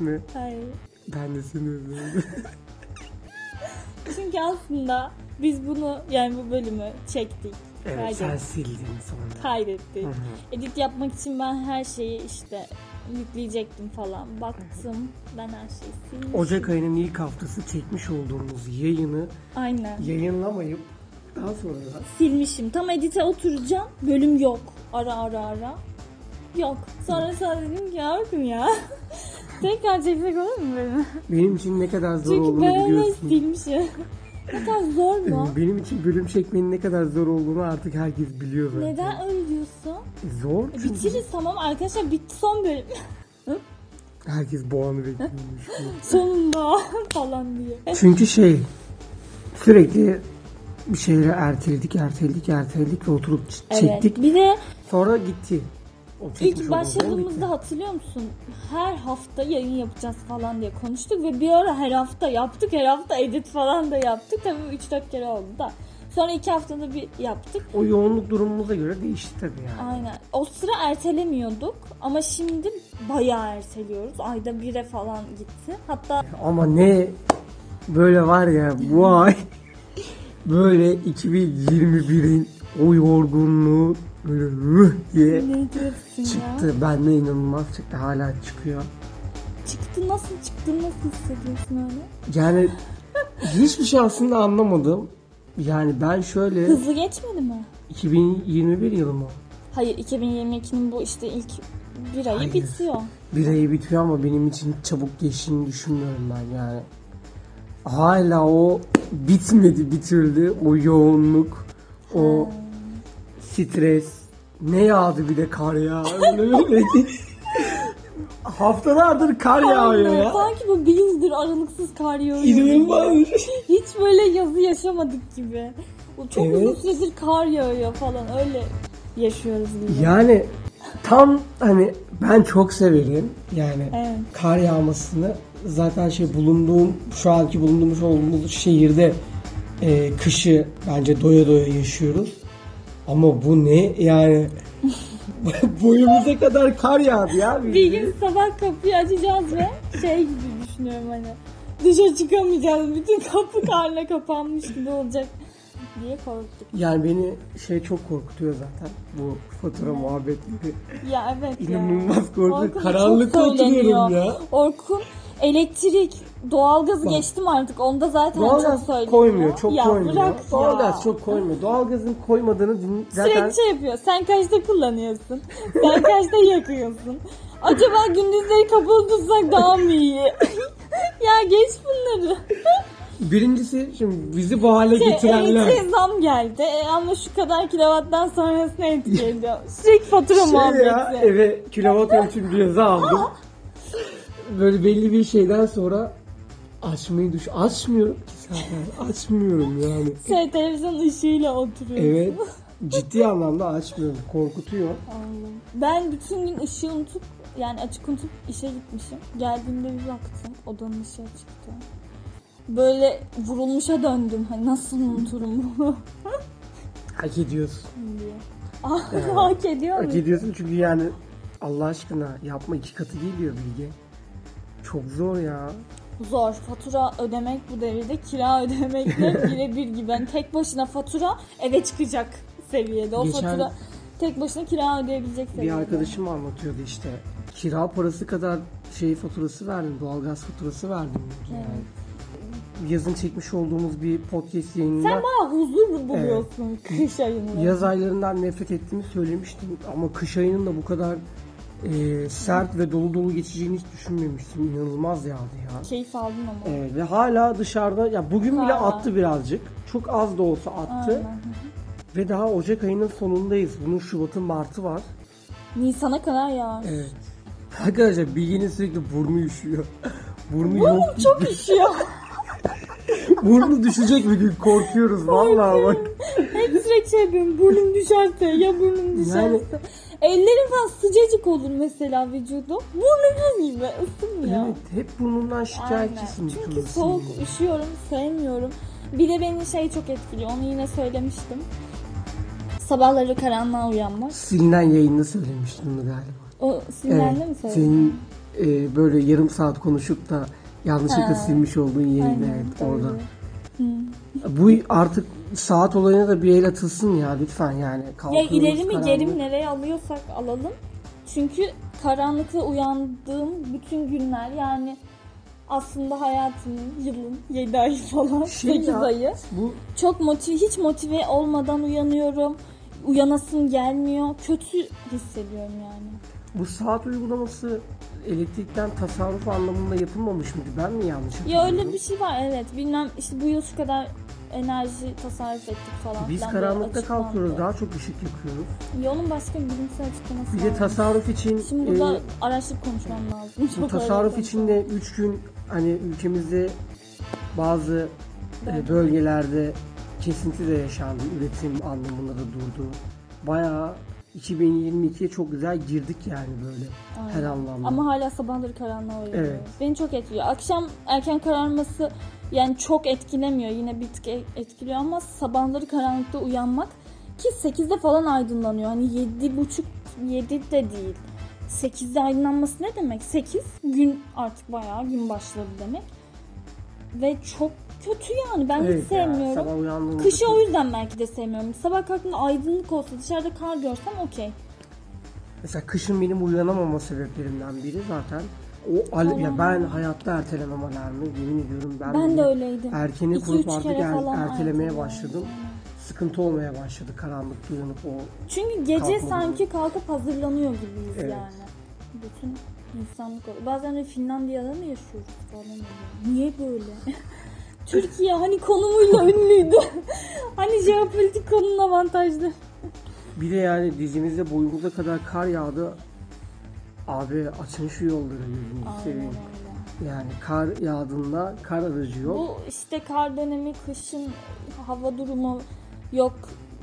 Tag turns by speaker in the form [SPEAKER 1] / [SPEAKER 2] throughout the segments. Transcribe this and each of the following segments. [SPEAKER 1] mi?
[SPEAKER 2] Hayır.
[SPEAKER 1] Ben de seni özledim.
[SPEAKER 2] Çünkü aslında biz bunu yani bu bölümü çektik.
[SPEAKER 1] evet
[SPEAKER 2] kaydet-
[SPEAKER 1] sen sildin sonra.
[SPEAKER 2] kaydettik.
[SPEAKER 1] Hı hı.
[SPEAKER 2] Edit yapmak için ben her şeyi işte yükleyecektim falan. Baktım ben her şeyi silmişim.
[SPEAKER 1] Ocak ayının ilk haftası çekmiş olduğumuz yayını
[SPEAKER 2] Aynen.
[SPEAKER 1] yayınlamayıp daha sonra da
[SPEAKER 2] Silmişim. Tam edite oturacağım. Bölüm yok. Ara ara ara. Yok. Sonra sana dedim ki Orkun ya. Tekrar çeksek olur mu bölümü?
[SPEAKER 1] benim için ne kadar zor
[SPEAKER 2] Çünkü
[SPEAKER 1] olduğunu
[SPEAKER 2] ben öyle
[SPEAKER 1] biliyorsun. Ee,
[SPEAKER 2] silmişim. Ne kadar zor mu?
[SPEAKER 1] Benim için bölüm çekmenin ne kadar zor olduğunu artık herkes biliyor zaten.
[SPEAKER 2] Neden öyle diyorsun?
[SPEAKER 1] Zor
[SPEAKER 2] E,
[SPEAKER 1] çünkü
[SPEAKER 2] Bitiririz tamam arkadaşlar bitti son bölüm.
[SPEAKER 1] herkes boğanı bekliyormuş.
[SPEAKER 2] Sonunda falan diye.
[SPEAKER 1] çünkü şey sürekli bir şeyleri erteledik, erteledik, erteledik ve oturup ç- çektik.
[SPEAKER 2] Evet. Bir de
[SPEAKER 1] Sonra gitti. O çekmiş
[SPEAKER 2] İlk
[SPEAKER 1] olduğumuz zaman bitti.
[SPEAKER 2] başladığımızda hatırlıyor musun? Her hafta yayın yapacağız falan diye konuştuk ve bir ara her hafta yaptık, her hafta edit falan da yaptık. Tabii 3-4 kere oldu da. Sonra iki haftada bir yaptık.
[SPEAKER 1] O yoğunluk durumumuza göre değişti tabii yani.
[SPEAKER 2] Aynen. O sıra ertelemiyorduk ama şimdi bayağı erteliyoruz. Ayda bire falan gitti. Hatta
[SPEAKER 1] Ama ne böyle var ya bu ay böyle 2021'in o yorgunluğu böyle ruh diye
[SPEAKER 2] ne diyorsun ya?
[SPEAKER 1] çıktı. Bende inanılmaz çıktı hala çıkıyor.
[SPEAKER 2] Çıktı nasıl çıktı nasıl hissediyorsun öyle?
[SPEAKER 1] Yani hiçbir şey aslında anlamadım. Yani ben şöyle
[SPEAKER 2] Hızlı geçmedi mi?
[SPEAKER 1] 2021 yılı mı?
[SPEAKER 2] Hayır 2022'nin bu işte ilk bir ayı
[SPEAKER 1] Hayır.
[SPEAKER 2] bitiyor.
[SPEAKER 1] Bir ayı bitiyor ama benim için çabuk geçtiğini düşünmüyorum ben yani. Hala o bitmedi bitirdi o yoğunluk, o stres. Ne yağdı bir de kar ya. Öyle böyle ki. Haftalardır kar yağıyor
[SPEAKER 2] Aynen.
[SPEAKER 1] ya.
[SPEAKER 2] Sanki bu bir yıldır aralıksız kar yağıyor.
[SPEAKER 1] İnanılmaz.
[SPEAKER 2] Hiç böyle yazı yaşamadık gibi. O Çok
[SPEAKER 1] Evet.
[SPEAKER 2] uzun süredir kar yağıyor falan öyle yaşıyoruz gibi.
[SPEAKER 1] Yani tam hani ben çok severim yani
[SPEAKER 2] Evet.
[SPEAKER 1] kar yağmasını. Zaten şey bulunduğum şu anki bulunduğumuz olduğumuz şehirde e, kışı bence doya doya yaşıyoruz. Ama bu ne yani boyumuza kadar kar yağdı ya.
[SPEAKER 2] Bir gün sabah kapıyı açacağız ve şey gibi düşünüyorum hani dışarı çıkamayacağız. Bütün kapı karla kapanmış gibi olacak diye korktuk.
[SPEAKER 1] Yani beni şey çok korkutuyor zaten bu fatura muhabbetleri.
[SPEAKER 2] Ya evet ya.
[SPEAKER 1] İnanılmaz korkutuyor.
[SPEAKER 2] Orkun'a
[SPEAKER 1] Karanlıkta
[SPEAKER 2] çok söyleniyor.
[SPEAKER 1] oturuyorum ya.
[SPEAKER 2] Orkun elektrik, doğalgazı
[SPEAKER 1] Bak.
[SPEAKER 2] geçtim artık. Onda zaten çok
[SPEAKER 1] Doğalgaz
[SPEAKER 2] söyleniyor.
[SPEAKER 1] koymuyor, çok
[SPEAKER 2] ya,
[SPEAKER 1] koymuyor.
[SPEAKER 2] Bırak ya.
[SPEAKER 1] Doğalgaz çok koymuyor. Doğalgazın koymadığını din- zaten
[SPEAKER 2] Sürekli şey yapıyor. Sen kaçta kullanıyorsun? Sen kaçta yakıyorsun? Acaba gündüzleri kapalı tutsak daha mı iyi? ya geç bunları.
[SPEAKER 1] birincisi şimdi bizi bu hale
[SPEAKER 2] Şey,
[SPEAKER 1] getirenler.
[SPEAKER 2] elektriğe zam geldi. E, ama şu kadar kilovattan sonrasına etki ediyor. Sürekli fatura
[SPEAKER 1] Şey ya,
[SPEAKER 2] muhabbeti.
[SPEAKER 1] eve kilovat ölçüm cihazı aldım. Böyle belli bir şeyden sonra açmayı düş açmıyorum ki zaten. Açmıyorum yani.
[SPEAKER 2] Şey, televizyon ışığıyla oturuyorsun.
[SPEAKER 1] Evet. Ciddi anlamda açmıyorum. Korkutuyor.
[SPEAKER 2] Allah'ım. Ben bütün gün ışığı unutup yani açık unutup işe gitmişim. Geldiğimde bir baktım odanın ışığı çıktı. Böyle vurulmuşa döndüm. Hani nasıl unuturum bunu
[SPEAKER 1] Hak ediyorsun.
[SPEAKER 2] diye. Ah hak ediyor
[SPEAKER 1] Hak
[SPEAKER 2] muyum?
[SPEAKER 1] ediyorsun çünkü yani Allah aşkına yapma iki katı geliyor bilgi. Çok zor ya.
[SPEAKER 2] Zor. Fatura ödemek bu devirde kira ödemekle birebir gibi. Yani tek başına fatura eve çıkacak seviyede. O
[SPEAKER 1] Geçen-
[SPEAKER 2] fatura tek başına kira ödeyebilecek seviyede.
[SPEAKER 1] Bir arkadaşım anlatıyordu işte. Kira parası kadar şey faturası verdim. Doğalgaz faturası verdim. diyordu Yani. Yazın çekmiş olduğumuz bir podcast yayınında.
[SPEAKER 2] Sen bana huzur buluyorsun kış ayında.
[SPEAKER 1] Yaz aylarından nefret ettiğimi söylemiştim ama kış ayının da bu kadar e, sert ve dolu dolu geçeceğini hiç düşünmemiştim. İnanılmaz yağdı ya.
[SPEAKER 2] Keyif aldın ama.
[SPEAKER 1] E, ve hala dışarıda ya bugün bile
[SPEAKER 2] Hala.
[SPEAKER 1] attı birazcık. Çok az da olsa attı.
[SPEAKER 2] Aynen.
[SPEAKER 1] Ve daha Ocak ayının sonundayız. Bunun Şubat'ın Mart'ı var.
[SPEAKER 2] Nisan'a kadar yağar.
[SPEAKER 1] Evet. Arkadaşlar bilginin sürekli burnu üşüyor. Burnu yok.
[SPEAKER 2] Burnum çok üşüyor.
[SPEAKER 1] Burnu düşecek bir gün korkuyoruz vallahi bak.
[SPEAKER 2] Hep sürekli şey yapıyorum. Burnum düşerse ya burnum düşerse.
[SPEAKER 1] Yani-
[SPEAKER 2] Ellerim falan sıcacık olur mesela vücudum. Burnum gibi ısınmıyor.
[SPEAKER 1] Evet, hep burnundan
[SPEAKER 2] Aynen.
[SPEAKER 1] şikayetçisin. bütün
[SPEAKER 2] Çünkü
[SPEAKER 1] ısınma.
[SPEAKER 2] soğuk üşüyorum sevmiyorum. Bir de beni şey çok etkiliyor onu yine söylemiştim. Sabahları karanlığa uyanmak.
[SPEAKER 1] Silinen yayında söylemiştin bunu galiba.
[SPEAKER 2] O sinirlendi mi söyledin?
[SPEAKER 1] Senin e, böyle yarım saat konuşup da yanlışlıkla
[SPEAKER 2] Ha.
[SPEAKER 1] silmiş olduğun yerini
[SPEAKER 2] Aynen,
[SPEAKER 1] evet,
[SPEAKER 2] doğru.
[SPEAKER 1] orada.
[SPEAKER 2] Hı.
[SPEAKER 1] Bu artık saat olayına da bir el atılsın ya lütfen yani.
[SPEAKER 2] Ya
[SPEAKER 1] Kalkıyoruz,
[SPEAKER 2] ileri mi
[SPEAKER 1] karanlık.
[SPEAKER 2] geri mi nereye alıyorsak alalım. Çünkü karanlıkta uyandığım bütün günler yani aslında hayatımın yılın 7 ayı falan
[SPEAKER 1] Şey
[SPEAKER 2] 8
[SPEAKER 1] ya.
[SPEAKER 2] ayı.
[SPEAKER 1] Bu
[SPEAKER 2] Çok motive hiç motive olmadan uyanıyorum. Uyanasım gelmiyor. Kötü hissediyorum yani.
[SPEAKER 1] bu saat uygulaması elektrikten tasarruf anlamında yapılmamış mıydı? Ben mi yanlış
[SPEAKER 2] Ya
[SPEAKER 1] hatırlıyorum?
[SPEAKER 2] öyle bir şey var evet. Bilmem işte bu yıl şu kadar enerji tasarruf ettik falan.
[SPEAKER 1] Biz
[SPEAKER 2] filan böyle
[SPEAKER 1] karanlıkta
[SPEAKER 2] açıklandı.
[SPEAKER 1] kalkıyoruz, daha çok ışık yakıyoruz.
[SPEAKER 2] Ya onun başka bir bilimsel açıklaması
[SPEAKER 1] Bir
[SPEAKER 2] var
[SPEAKER 1] de
[SPEAKER 2] mı?
[SPEAKER 1] tasarruf için
[SPEAKER 2] Şimdi
[SPEAKER 1] e,
[SPEAKER 2] burada araştırıp konuşmam lazım.
[SPEAKER 1] Bu
[SPEAKER 2] Çok
[SPEAKER 1] tasarruf
[SPEAKER 2] öyle
[SPEAKER 1] için de 3 gün hani ülkemizde bazı e, bölgelerde kesinti de yaşandı. Üretim anlamında da durdu. Bayağı 2022'ye çok güzel girdik yani böyle her
[SPEAKER 2] Aynen.
[SPEAKER 1] anlamda.
[SPEAKER 2] Ama hala sabahları karanlığa uyanıyor.
[SPEAKER 1] Evet.
[SPEAKER 2] Beni çok etkiliyor. Akşam erken kararması yani çok etkilemiyor. Yine bir tık e- etkiliyor ama sabahları karanlıkta uyanmak ki 8'de falan aydınlanıyor. Hani 7.30 7 de değil. 8'de aydınlanması ne demek? 8 gün artık bayağı gün başladı demek. Ve çok kötü yani. Ben
[SPEAKER 1] Evet
[SPEAKER 2] hiç
[SPEAKER 1] ya,
[SPEAKER 2] sevmiyorum.
[SPEAKER 1] sabah uyandığımızda
[SPEAKER 2] Kışı
[SPEAKER 1] çok-
[SPEAKER 2] o yüzden belki de sevmiyorum. Sabah kalktığımda aydınlık olsa dışarıda kar görsem okey.
[SPEAKER 1] Mesela kışın benim uyanamama sebeplerimden biri zaten o al- ya ben hayatta ertelemem alarmı yemin ediyorum ben,
[SPEAKER 2] Ben de
[SPEAKER 1] bunu
[SPEAKER 2] öyleydim.
[SPEAKER 1] erkene
[SPEAKER 2] İki,
[SPEAKER 1] kurup
[SPEAKER 2] üç
[SPEAKER 1] artık
[SPEAKER 2] kere
[SPEAKER 1] er-
[SPEAKER 2] falan
[SPEAKER 1] ertelemeye
[SPEAKER 2] erteledim.
[SPEAKER 1] başladım. Sıkıntı olmaya başladı karanlıkta uyanıp o
[SPEAKER 2] Çünkü gece
[SPEAKER 1] Kalkmadım.
[SPEAKER 2] sanki kalkıp hazırlanıyor gibiyiz
[SPEAKER 1] Evet.
[SPEAKER 2] yani. Bütün insanlık olarak. Bazen de Finlandiya'da mı yaşıyoruz falan oluyor. Niye böyle? Türkiye hani konumuyla ünlüydü. hani jeopolitik konunun avantajlı.
[SPEAKER 1] Bir de yani dizimizde boyumuza kadar kar yağdı. Abi açın şu yolları gözünü
[SPEAKER 2] Aynen
[SPEAKER 1] seveyim.
[SPEAKER 2] öyle.
[SPEAKER 1] Yani kar yağdığında kar aracı yok.
[SPEAKER 2] Bu işte kar dönemi, kışın hava durumu yok,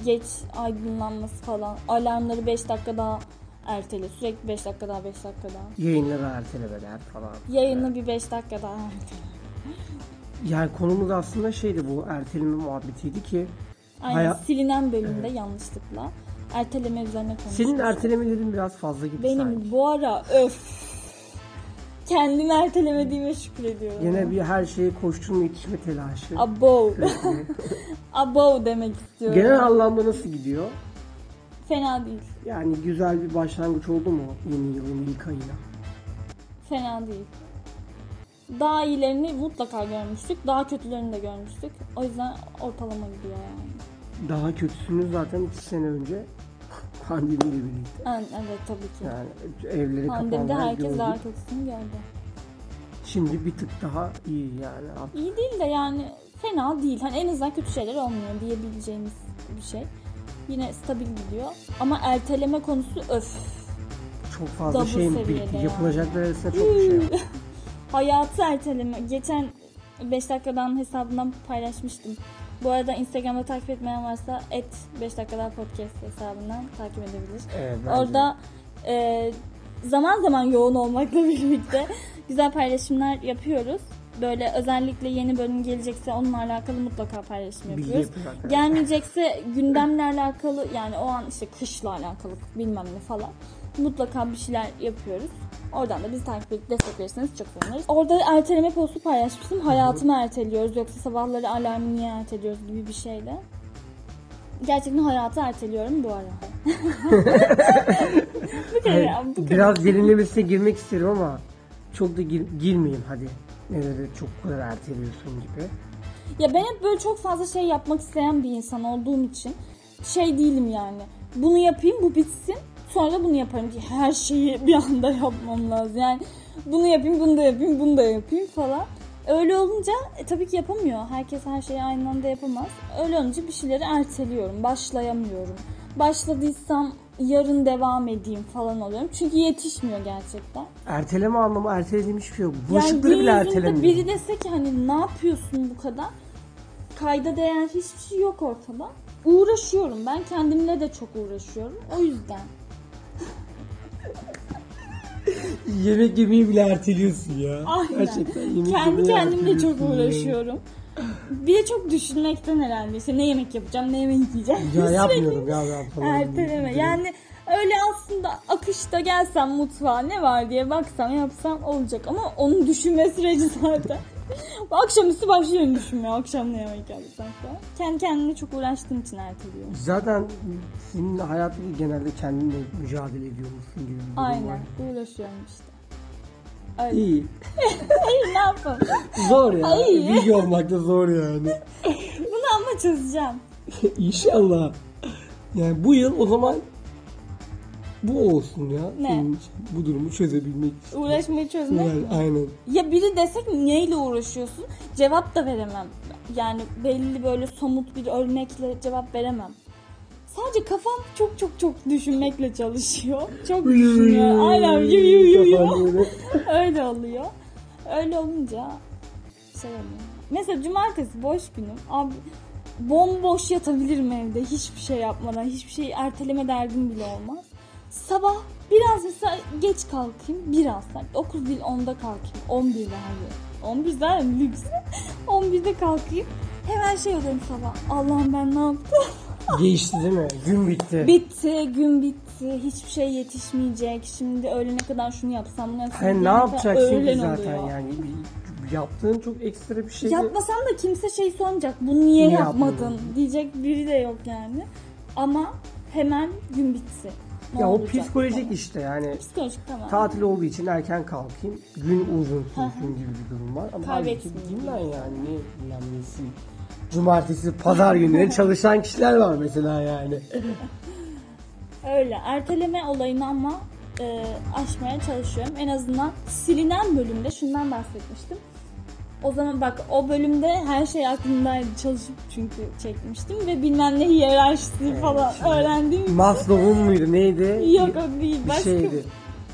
[SPEAKER 2] geç aydınlanması falan. Alarmları 5 dakika daha ertele. Sürekli 5 dakika daha, 5 dakika daha.
[SPEAKER 1] Yayınları ertelemeler falan.
[SPEAKER 2] Yayını bir 5 dakika daha ertele.
[SPEAKER 1] Yani konumuz aslında şeydi bu erteleme muhabbetiydi ki
[SPEAKER 2] Aynen
[SPEAKER 1] Hayat-
[SPEAKER 2] silinen bölümde yanlışlıkla erteleme üzerine konuşuyoruz.
[SPEAKER 1] senin ertelemelerin biraz fazla gibi
[SPEAKER 2] şey. Benim
[SPEAKER 1] sanki.
[SPEAKER 2] bu ara öf. Kendimi ertelemediğime şükür ediyorum.
[SPEAKER 1] Yine bir her şeye koşturma yetişme telaşı.
[SPEAKER 2] Abo. Abo demek istiyorum.
[SPEAKER 1] Genel anlamda nasıl gidiyor?
[SPEAKER 2] Fena değil.
[SPEAKER 1] Yani güzel bir başlangıç oldu mu yeni yılın ilk ayına?
[SPEAKER 2] Fena değil. Daha iyilerini mutlaka görmüştük. Daha kötülerini de görmüştük. O yüzden ortalama gidiyor yani.
[SPEAKER 1] Daha kötüsünü zaten iki sene önce pandemiyle birlikte.
[SPEAKER 2] Yani evet tabii ki.
[SPEAKER 1] Yani evleri
[SPEAKER 2] Pandemide
[SPEAKER 1] kapanlar
[SPEAKER 2] herkes
[SPEAKER 1] gördük.
[SPEAKER 2] daha kötüsünü gördü.
[SPEAKER 1] Şimdi bir tık daha iyi yani.
[SPEAKER 2] İyi değil de yani fena değil. Hani en azından kötü şeyler olmuyor diyebileceğimiz bir şey. Yine stabil gidiyor. Ama erteleme konusu öf.
[SPEAKER 1] Çok fazla
[SPEAKER 2] Double
[SPEAKER 1] şey
[SPEAKER 2] seviyede
[SPEAKER 1] birikti.
[SPEAKER 2] yani.
[SPEAKER 1] Yapılacaklar arasında çok bir şey var.
[SPEAKER 2] Hayatı erteleme. Geçen 5 dakikadan hesabından paylaşmıştım. Bu arada Instagram'da takip etmeyen varsa et 5 dakikadan podcast hesabından takip edebilir.
[SPEAKER 1] Evet, bence.
[SPEAKER 2] Orada e, zaman zaman yoğun olmakla birlikte güzel paylaşımlar yapıyoruz. Böyle özellikle yeni bölüm gelecekse onunla alakalı mutlaka paylaşım
[SPEAKER 1] Bilgi
[SPEAKER 2] yapıyoruz.
[SPEAKER 1] yapıyor arkadaşlar.
[SPEAKER 2] Gelmeyecekse gündemle alakalı yani o an işte kışla alakalı bilmem ne falan mutlaka bir şeyler yapıyoruz. Oradan da bizi takip edip destek verirseniz çok seviniriz. Orada erteleme postu paylaşmıştım. Hayatımı erteliyoruz yoksa sabahları alarmı niye erteliyoruz gibi bir şeyle. Gerçekten hayatı erteliyorum bu ara. bu kadar.
[SPEAKER 1] Hayır,
[SPEAKER 2] bu kadar.
[SPEAKER 1] biraz derinlemesine girmek isterim ama çok da gir- girmeyeyim hadi. Neleri çok bu kadar erteliyorsun gibi.
[SPEAKER 2] Ya ben hep böyle çok fazla şey yapmak isteyen bir insan olduğum için şey değilim yani. Bunu yapayım bu bitsin sonra da bunu yaparım diye her şeyi bir anda yapmam lazım. Yani bunu yapayım bunu da yapayım bunu da yapayım falan. Öyle olunca e, tabii ki yapamıyor. Herkes her şeyi aynı anda yapamaz. Öyle olunca bir şeyleri erteliyorum. Başlayamıyorum. Başladıysam yarın devam edeyim falan oluyorum. Çünkü yetişmiyor gerçekten.
[SPEAKER 1] Erteleme anlamı ertelediğim hiçbir şey yok.
[SPEAKER 2] Yani
[SPEAKER 1] Bulaşıkları
[SPEAKER 2] gün
[SPEAKER 1] bile
[SPEAKER 2] yüzünde
[SPEAKER 1] ertelemiyorum.
[SPEAKER 2] biri dese ki hani ne yapıyorsun bu kadar? Kayda değer hiçbir şey yok ortada. Uğraşıyorum ben kendimle de çok uğraşıyorum. O yüzden.
[SPEAKER 1] Yemek yemeyi bile erteliyorsun ya.
[SPEAKER 2] Aynen.
[SPEAKER 1] Gerçekten yemek
[SPEAKER 2] Kendi
[SPEAKER 1] yemeyi
[SPEAKER 2] kendimle
[SPEAKER 1] erteliyorsun
[SPEAKER 2] çok
[SPEAKER 1] ya.
[SPEAKER 2] uğraşıyorum. Bir de çok düşünmekten herhalde. İşte ne yemek yapacağım, ne yemek yiyeceğim.
[SPEAKER 1] Ya
[SPEAKER 2] Sürekli
[SPEAKER 1] yapmıyorum ya ben falan.
[SPEAKER 2] Erteleme. Yani Öyle aslında akışta gelsem mutfağa ne var diye baksam yapsam olacak ama onun düşünme süreci zaten. Akşamüstü başlıyorum düşünmeye akşam ne yemek yapsam falan. Kendi kendime çok uğraştığım için erteliyorum.
[SPEAKER 1] Zaten senin hayatı genelde kendinle mücadele ediyormuşsun gibi bir durum var.
[SPEAKER 2] Aynen uğraşıyorum işte. Öyle.
[SPEAKER 1] İyi.
[SPEAKER 2] ne yapalım?
[SPEAKER 1] Zor ya.
[SPEAKER 2] Ay.
[SPEAKER 1] Bilgi olmak da zor yani.
[SPEAKER 2] Bunu ama çözeceğim.
[SPEAKER 1] İnşallah. Yani bu yıl o zaman bu olsun ya.
[SPEAKER 2] Ne?
[SPEAKER 1] Senin için. Bu durumu çözebilmek için.
[SPEAKER 2] Uğraşmayı çözmek
[SPEAKER 1] Yani
[SPEAKER 2] mi?
[SPEAKER 1] aynen.
[SPEAKER 2] Ya biri desek neyle uğraşıyorsun? Cevap da veremem. Yani belli böyle somut bir örnekle cevap veremem. Sadece kafam çok çok çok düşünmekle çalışıyor. Çok düşünüyor. Aynen yu yu yu yu.
[SPEAKER 1] Kafan böyle.
[SPEAKER 2] Öyle oluyor. Öyle olunca şey oluyor. Mesela cumartesi boş günüm. Abi bomboş yatabilirim evde hiçbir şey yapmadan. Hiçbir şey erteleme derdim bile olmaz. Sabah biraz mesela geç kalkayım. Biraz. Yani 9 değil 10'da kalkayım. 11 daha 11 zaten lüks. 11'de kalkayım. Hemen şey oluyorum sabah. Allah'ım ben ne yaptım?
[SPEAKER 1] Geçti değil mi? Gün bitti.
[SPEAKER 2] Bitti, gün bitti. Hiçbir şey yetişmeyecek. Şimdi öğlene kadar şunu yapsam, bunu yapsam.
[SPEAKER 1] Hani ne
[SPEAKER 2] diye
[SPEAKER 1] yapacaksın ki
[SPEAKER 2] öğlen
[SPEAKER 1] zaten
[SPEAKER 2] oluyor.
[SPEAKER 1] yani? Bir- bir Yaptığın çok ekstra bir şey. de-
[SPEAKER 2] Yapmasam da kimse şey sormayacak. Bunu niye
[SPEAKER 1] Niye
[SPEAKER 2] yapmadın?
[SPEAKER 1] yapmadın?
[SPEAKER 2] Diyecek biri de yok yani. Ama hemen gün bitsin. Ne
[SPEAKER 1] ya o
[SPEAKER 2] olacak
[SPEAKER 1] psikolojik
[SPEAKER 2] falan.
[SPEAKER 1] işte yani.
[SPEAKER 2] Psikolojik tamam.
[SPEAKER 1] Tatil olduğu için erken kalkayım. Gün uzun sürsün gibi bir durum var. Ama halbuki
[SPEAKER 2] Kaybetsin.
[SPEAKER 1] dinlen yani. Niye dinlenmesin? Cumartesi, pazar günleri çalışan kişiler var mesela yani.
[SPEAKER 2] Öyle. Erteleme olayını ama e, aşmaya çalışıyorum. En azından silinen bölümde şundan bahsetmiştim. O zaman bak o bölümde her şey aklımdaydı. Çalışıp çünkü çekmiştim ve bilmem ne hiyerarşisi falan
[SPEAKER 1] şimdi-
[SPEAKER 2] öğrendiğim
[SPEAKER 1] Maslow'un muydu neydi?
[SPEAKER 2] Yok o değil.
[SPEAKER 1] bir
[SPEAKER 2] Başka
[SPEAKER 1] şeydi.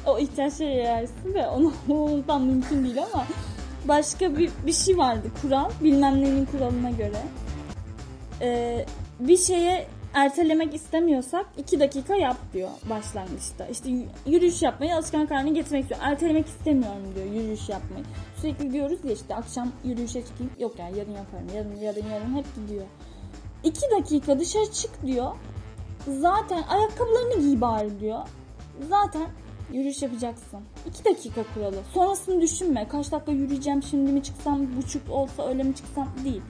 [SPEAKER 2] o ihtiyaçlara yersin de onu unutmam mümkün değil ama başka bir, bir şey vardı kural bilmem neyin kuralına göre Ee, bir şeye ertelemek istemiyorsak 2 dakika yap diyor başlangıçta. İşte y- yürüyüş yapmayı alışkanlık haline getirmek istiyor. Ertelemek istemiyorum diyor yürüyüş yapmayı. Sürekli diyoruz ya işte akşam yürüyüşe çıkayım. Yok ya yarın yaparım. Yarın yarın yarın hep gidiyor. 2 dakika dışarı çık diyor. Zaten ayakkabılarını giy bari diyor. Zaten yürüyüş yapacaksın. 2 dakika kuralı. Sonrasını düşünme. Kaç dakika yürüyeceğim şimdi mi çıksam buçuk olsa öyle mi çıksam değil.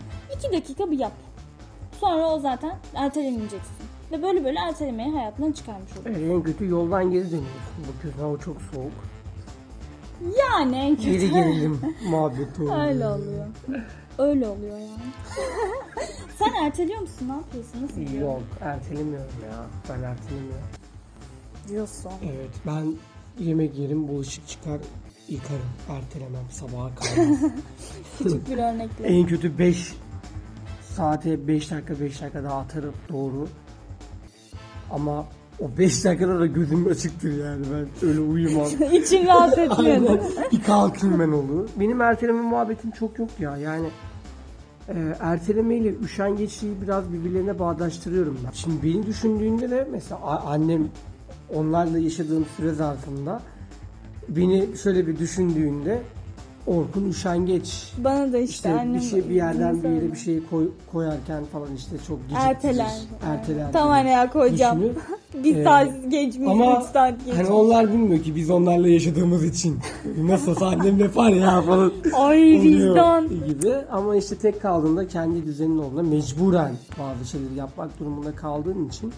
[SPEAKER 2] 2 dakika bir yap. Sonra o zaten ertelemeyeceksin. Ve böyle böyle ertelemeyi hayatından çıkarmış olur.
[SPEAKER 1] Evet, en kötü yoldan geri dönüyorsun. Bakıyorsun hava çok soğuk.
[SPEAKER 2] Yani en kötü.
[SPEAKER 1] Geri gelelim muhabbeti oluyor.
[SPEAKER 2] Öyle oluyor. Öyle oluyor yani. Sen erteliyor musun? Ne yapıyorsun? Nasıl gidiyor?
[SPEAKER 1] Yok ertelemiyorum ya. Ben ertelemiyorum.
[SPEAKER 2] Diyorsun.
[SPEAKER 1] Evet ben yemek yerim bulaşık çıkar yıkarım. Ertelemem sabaha kalmaz.
[SPEAKER 2] Küçük bir örnekle.
[SPEAKER 1] en kötü 5 saate 5 dakika 5 dakika daha atarım doğru. Ama o 5 dakikada da gözüm açıktır yani ben öyle uyumam.
[SPEAKER 2] İçin rahat etmiyor.
[SPEAKER 1] Aynen. Bir kalkayım ben olur. Benim erteleme muhabbetim çok yok ya. Yani e, erteleme ile üşengeçliği biraz birbirlerine bağdaştırıyorum ben. Şimdi beni düşündüğünde de mesela a- annem onlarla yaşadığım süre zarfında beni şöyle bir düşündüğünde Orkun üşengeç
[SPEAKER 2] Bana da işte,
[SPEAKER 1] işte bir
[SPEAKER 2] annem
[SPEAKER 1] şey bir yerden bir yere
[SPEAKER 2] söylüyor.
[SPEAKER 1] bir şey koy- koyarken falan işte çok geciktirir.
[SPEAKER 2] Erteler.
[SPEAKER 1] Erteler.
[SPEAKER 2] Tamam
[SPEAKER 1] gibi
[SPEAKER 2] ya koyacağım.
[SPEAKER 1] düşünür.
[SPEAKER 2] bir
[SPEAKER 1] Ee,
[SPEAKER 2] saat geçmiş,
[SPEAKER 1] Ama
[SPEAKER 2] üç saat geçmiş.
[SPEAKER 1] hani onlar bilmiyor ki biz onlarla yaşadığımız için. Nasıl annem yapar ya falan.
[SPEAKER 2] Ay
[SPEAKER 1] oluyor
[SPEAKER 2] vicdan.
[SPEAKER 1] gibi. Ama işte tek kaldığında kendi düzenin olduğunda mecburen bazı şeyleri yapmak durumunda kaldığın için.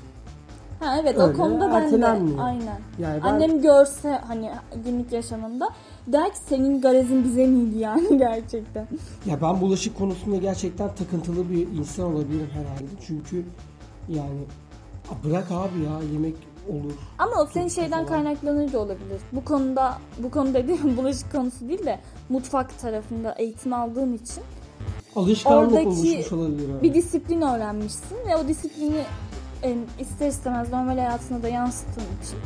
[SPEAKER 2] Ha evet
[SPEAKER 1] Öyle
[SPEAKER 2] o konuda ben de
[SPEAKER 1] ertelenmiyor.
[SPEAKER 2] aynen.
[SPEAKER 1] Yani ben
[SPEAKER 2] Annem görse hani günlük yaşamında der ki senin garezin bize miydi yani gerçekten.
[SPEAKER 1] ya ben bulaşık konusunda gerçekten takıntılı bir insan olabilirim herhalde. Çünkü yani "A, bırak abi ya yemek olur.
[SPEAKER 2] Ama o senin
[SPEAKER 1] Çok
[SPEAKER 2] şeyden
[SPEAKER 1] falan.
[SPEAKER 2] kaynaklanır da olabilir. Bu konuda bu konu dediğim bulaşık konusu değil de mutfak tarafında eğitim aldığın için
[SPEAKER 1] Alışkanlık
[SPEAKER 2] Oradaki
[SPEAKER 1] oluşmuş olabilir. abi.
[SPEAKER 2] bir disiplin öğrenmişsin ve o disiplini em, ister istemez normal hayatına da yansıttığın için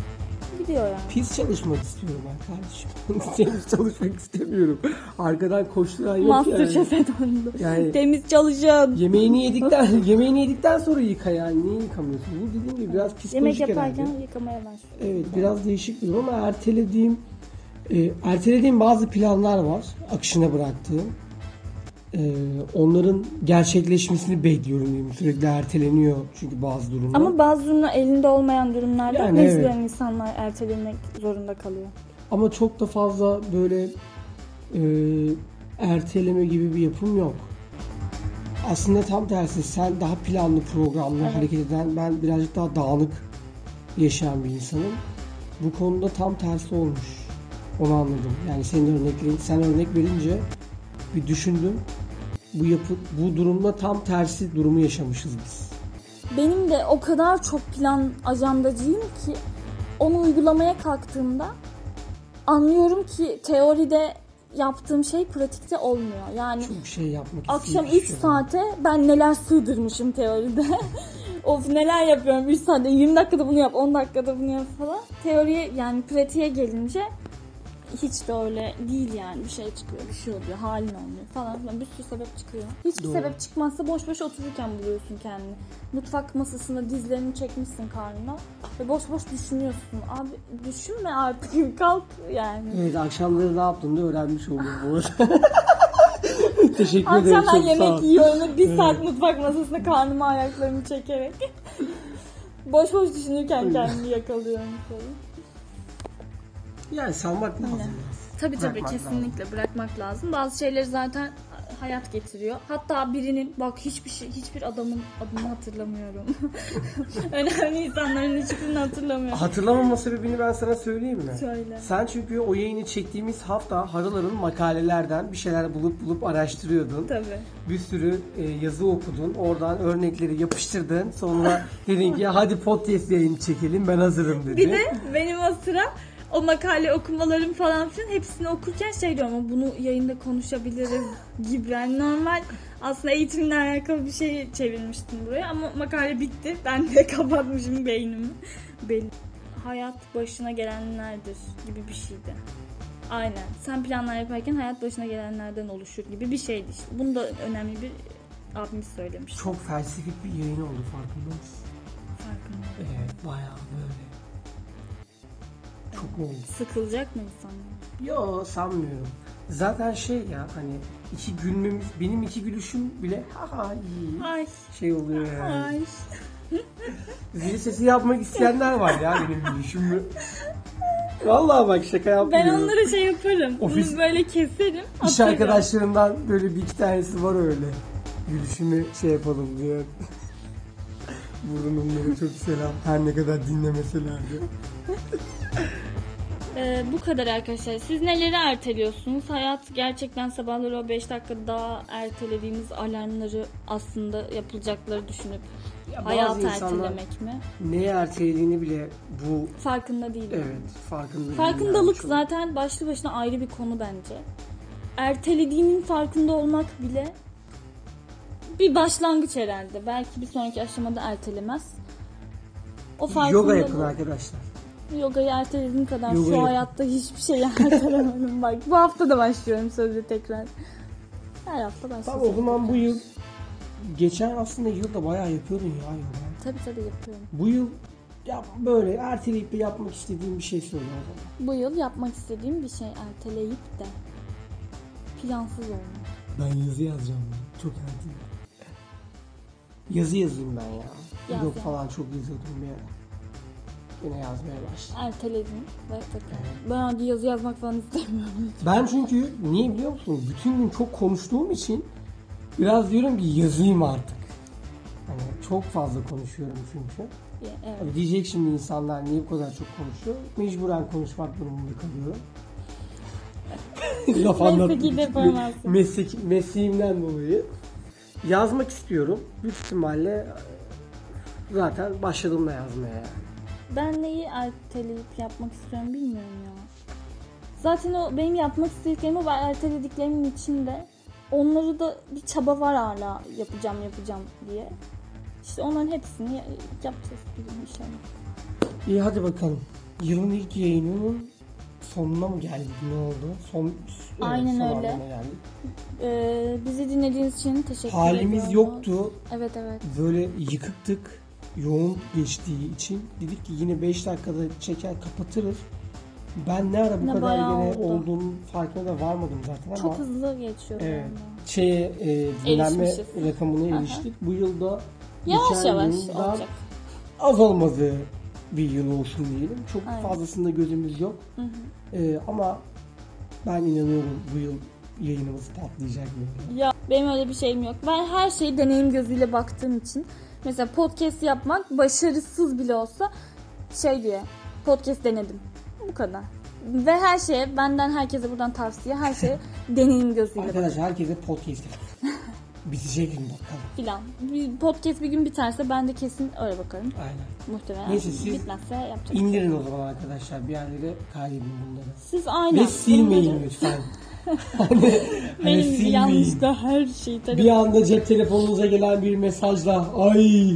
[SPEAKER 2] gidiyor yani.
[SPEAKER 1] Pis çalışmak istiyorum ben kardeşim. Temiz çalışmak istemiyorum. Arkadan koşturan yok yani.
[SPEAKER 2] Masterchef'e döndü.
[SPEAKER 1] Yani-
[SPEAKER 2] Temiz çalışın.
[SPEAKER 1] Yemeğini yedikten yemeğini yedikten sonra yıka yani. Niye yıkamıyorsun? Bu dediğim gibi biraz psikolojik
[SPEAKER 2] Yemek yaparken şey
[SPEAKER 1] herhalde.
[SPEAKER 2] yıkamaya başlıyor.
[SPEAKER 1] Evet biraz değişik bir durum ama ertelediğim e, ertelediğim bazı planlar var akışına bıraktığım. e, onların gerçekleşmesini bekliyorum diyeyim. Sürekli erteleniyor çünkü bazı durumlar.
[SPEAKER 2] Ama bazı durumlar elinde olmayan durumlarda
[SPEAKER 1] Yani
[SPEAKER 2] mecburen
[SPEAKER 1] evet.
[SPEAKER 2] insanlar ertelemek zorunda kalıyor.
[SPEAKER 1] Ama çok da fazla böyle e, erteleme gibi bir yapım yok. Aslında tam tersi sen daha planlı programlı
[SPEAKER 2] Evet.
[SPEAKER 1] hareket eden ben birazcık daha dağınık yaşayan bir insanım. Bu konuda tam tersi olmuş. Onu anladım. Yani senin örneklerin, sen örnek verince bir düşündüm. Bu yapı, bu durumla tam tersi durumu yaşamışız biz.
[SPEAKER 2] Benim de o kadar çok plan ajandacıyım ki onu uygulamaya kalktığımda anlıyorum ki teoride yaptığım şey pratikte olmuyor. Yani
[SPEAKER 1] Çok şey yapmak
[SPEAKER 2] akşam
[SPEAKER 1] istiyorum.
[SPEAKER 2] 3 saate ben neler sığdırmışım teoride. of neler yapıyorum 3 saatte 20 dakikada bunu yap 10 dakikada bunu yap falan. Teoriye yani pratiğe gelince hiç de öyle değil yani bir şey çıkıyor bir şey oluyor halin olmuyor falan filan bir sürü sebep çıkıyor. Hiçbir
[SPEAKER 1] Doğru.
[SPEAKER 2] sebep çıkmazsa boş boş otururken buluyorsun kendini. Mutfak masasında dizlerini çekmişsin karnına ve boş boş düşünüyorsun. Abi düşünme artık kalk yani.
[SPEAKER 1] Evet akşamları ne yaptığını da öğrenmiş oldum bu arada. Teşekkür ederim
[SPEAKER 2] Akşam ben
[SPEAKER 1] çok sağ
[SPEAKER 2] yemek
[SPEAKER 1] ol.
[SPEAKER 2] yiyorum. Bir saat mutfak masasında karnımı ayaklarımı çekerek. boş boş düşünürken kendimi yakalıyorum falan.
[SPEAKER 1] Yani salmak lazım.
[SPEAKER 2] Tabii tabii
[SPEAKER 1] Bırakmak
[SPEAKER 2] kesinlikle bırakmak lazım. Bazı şeyleri zaten hayat getiriyor. Hatta birinin bak hiçbir şey hiçbir adamın adını hatırlamıyorum. Önemli insanların hiçbirini hatırlamıyorum.
[SPEAKER 1] Hatırlamama sebebini ben sana söyleyeyim mi?
[SPEAKER 2] Söyle.
[SPEAKER 1] Sen çünkü o yayını çektiğimiz hafta Haralar'ın makalelerden bir şeyler bulup bulup araştırıyordun.
[SPEAKER 2] Tabii.
[SPEAKER 1] Bir sürü e, yazı okudun. Oradan örnekleri yapıştırdın. Sonra dedin ki hadi podcast yayını çekelim ben hazırım dedi.
[SPEAKER 2] Bir de benim o sıra o makale okumalarım falan filan hepsini okurken şey diyorum ama bunu yayında konuşabiliriz gibi. Yani normal aslında eğitimle alakalı bir şey çevirmiştim buraya ama makale bitti. Ben de kapatmışım beynimi. Belli. Hayat başına gelenlerdir gibi bir şeydi. Aynen. Sen planlar yaparken hayat başına gelenlerden oluşur gibi bir şeydi işte. Bunu da önemli bir abimiz söylemiş.
[SPEAKER 1] Çok felsefik bir yayın oldu farkında mısın?
[SPEAKER 2] Farkında.
[SPEAKER 1] Evet bayağı böyle. Çok oldu.
[SPEAKER 2] Sıkılacak mı insanlar?
[SPEAKER 1] Yo sanmıyorum. Zaten şey ya hani iki gülmemiz benim iki gülüşüm bile ha ha iyi
[SPEAKER 2] Ay.
[SPEAKER 1] şey oluyor yani.
[SPEAKER 2] Ay.
[SPEAKER 1] Zil sesi yapmak isteyenler var ya benim gülüşümü. Vallahi bak şaka
[SPEAKER 2] Ben
[SPEAKER 1] yapmıyorum.
[SPEAKER 2] onlara şey yaparım.
[SPEAKER 1] Ee, Ofis-
[SPEAKER 2] Bunu böyle keserim.
[SPEAKER 1] İş
[SPEAKER 2] atarım.
[SPEAKER 1] arkadaşlarımdan böyle bir iki tanesi var öyle. Gülüşümü şey yapalım diye. Buradan onlara çok selam. Her ne kadar dinlemeseler de.
[SPEAKER 2] Ee, bu kadar arkadaşlar. Siz neleri erteliyorsunuz? Hayat gerçekten sabahları o 5 dakika daha ertelediğiniz alarmları aslında yapılacakları düşünüp
[SPEAKER 1] Ya
[SPEAKER 2] hayatı
[SPEAKER 1] bazı insanlar
[SPEAKER 2] ertelemek mi?
[SPEAKER 1] neye ertelediğini bile bu
[SPEAKER 2] Farkında değilim.
[SPEAKER 1] evet farkında değiller.
[SPEAKER 2] Farkındalık
[SPEAKER 1] Çok-
[SPEAKER 2] zaten başlı başına ayrı bir konu bence. Ertelediğinin farkında olmak bile bir başlangıç herhalde. Belki bir sonraki aşamada ertelemez. O
[SPEAKER 1] Yoga
[SPEAKER 2] farkındalığı-
[SPEAKER 1] yapın arkadaşlar.
[SPEAKER 2] Yogayı ertelediğim kadar
[SPEAKER 1] Yoga
[SPEAKER 2] şu
[SPEAKER 1] yapın.
[SPEAKER 2] hayatta hiçbir şey ertelemedim bak. Bu hafta da başlıyorum sözde tekrar. Her hafta
[SPEAKER 1] Tamam o
[SPEAKER 2] başlıyorum.
[SPEAKER 1] zaman bu yıl geçen aslında yılda bayağı yapıyordun ya yoga.
[SPEAKER 2] Tabii tabii yapıyorum.
[SPEAKER 1] Bu yıl ya böyle erteleyip de yapmak istediğim bir şey söyle o zaman.
[SPEAKER 2] Bu yıl yapmak istediğim bir şey erteleyip de plansız olmak.
[SPEAKER 1] Ben yazı yazacağım ben. Çok erteleyim. Yazı yazayım ben ya.
[SPEAKER 2] Yaz,
[SPEAKER 1] Yok
[SPEAKER 2] yaz.
[SPEAKER 1] falan çok yazıyordum bir ara. Yine yazmaya başladım.
[SPEAKER 2] Erteledim ve tekrar. Ben hadi yazı yazmak falan istemiyorum.
[SPEAKER 1] Ben çünkü niye biliyor musun? Bütün gün çok konuştuğum için biraz diyorum ki yazayım artık. Hani çok fazla konuşuyorum çünkü.
[SPEAKER 2] evet.
[SPEAKER 1] Abi diyecek şimdi insanlar niye bu kadar çok konuşuyor? Mecburen konuşmak durumunda kalıyorum. Laf anlatmak
[SPEAKER 2] Mesleki deformasyon.
[SPEAKER 1] Meslek, mesleğimden dolayı. Yazmak istiyorum. Büyük ihtimalle e, zaten başladım da yazmaya yani.
[SPEAKER 2] Ben neyi erteleyip yapmak istiyorum bilmiyorum ya. Zaten o benim yapmak istediklerimi ve ertelediklerimin içinde onları da bir çaba var hala yapacağım yapacağım diye. İşte onların hepsini ya- yapacağız bir gün inşallah.
[SPEAKER 1] İyi hadi bakalım. Yılın ilk yayınının sonuna mı geldik? Ne oldu? Son, evet,
[SPEAKER 2] Aynen
[SPEAKER 1] son
[SPEAKER 2] öyle.
[SPEAKER 1] anlamına geldik.
[SPEAKER 2] Ee, bizi dinlediğiniz için teşekkür ediyorum.
[SPEAKER 1] Halimiz yoktu.
[SPEAKER 2] Evet evet.
[SPEAKER 1] Böyle yıkıktık. Yoğun geçtiği için dedik ki yine 5 dakikada çeker kapatırız. Ben ne ara bu
[SPEAKER 2] Ne
[SPEAKER 1] kadar
[SPEAKER 2] bayağı
[SPEAKER 1] yine
[SPEAKER 2] oldu.
[SPEAKER 1] olduğum farkına da varmadım zaten ama
[SPEAKER 2] Çok hızlı geçiyor.
[SPEAKER 1] Evet.
[SPEAKER 2] bu arada.
[SPEAKER 1] şey e, dinlenme
[SPEAKER 2] Erişmişiz.
[SPEAKER 1] rakamına
[SPEAKER 2] Aha.
[SPEAKER 1] eriştik. Bu yılda
[SPEAKER 2] Yavaş
[SPEAKER 1] geçen
[SPEAKER 2] yavaş
[SPEAKER 1] yıldan
[SPEAKER 2] olacak.
[SPEAKER 1] az olmadığı bir yıl olsun diyelim. Çok
[SPEAKER 2] Aynen.
[SPEAKER 1] fazlasında gözümüz yok.
[SPEAKER 2] Hı hı.
[SPEAKER 1] E, ama ben inanıyorum bu yıl yayınımız patlayacak. yani.
[SPEAKER 2] Ya benim öyle bir şeyim yok. Ben her şeyi deneyim gözüyle baktığım için. Mesela podcast yapmak başarısız bile olsa şey diye podcast denedim. Bu kadar. Ve her şeye benden herkese buradan tavsiye her şeye deneyim gözüyle bak
[SPEAKER 1] Arkadaşlar herkese podcast bitecek mi bakalım.
[SPEAKER 2] filan. Bir podcast bir gün biterse ben de kesin öyle bakarım.
[SPEAKER 1] Aynen.
[SPEAKER 2] Muhtemelen
[SPEAKER 1] Neyse, siz
[SPEAKER 2] bitmezse yapacak.
[SPEAKER 1] İndirin o zaman arkadaşlar bir yerlere kaydedin bunları.
[SPEAKER 2] Siz aynen.
[SPEAKER 1] Ve silmeyin
[SPEAKER 2] bunları-
[SPEAKER 1] lütfen. hani, hani
[SPEAKER 2] Benim
[SPEAKER 1] silmeyin.
[SPEAKER 2] yanlışlıkla her şeyi
[SPEAKER 1] Bir
[SPEAKER 2] tarif.
[SPEAKER 1] anda cep telefonunuza gelen bir mesajla ay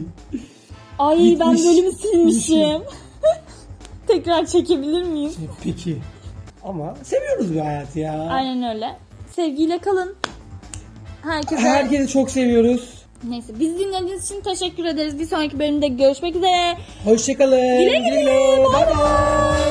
[SPEAKER 2] Ay ben
[SPEAKER 1] Gitmiş.
[SPEAKER 2] bölümü silmişim. Tekrar çekebilir miyim?
[SPEAKER 1] şey, peki. Ama seviyoruz bu hayatı ya.
[SPEAKER 2] Aynen öyle. Sevgiyle kalın. Herkese
[SPEAKER 1] Herkesi çok seviyoruz.
[SPEAKER 2] neyse biz dinlediğiniz için teşekkür ederiz. Bir sonraki bölümde görüşmek üzere.
[SPEAKER 1] Hoşçakalın.
[SPEAKER 2] Güle güle. Bay bay.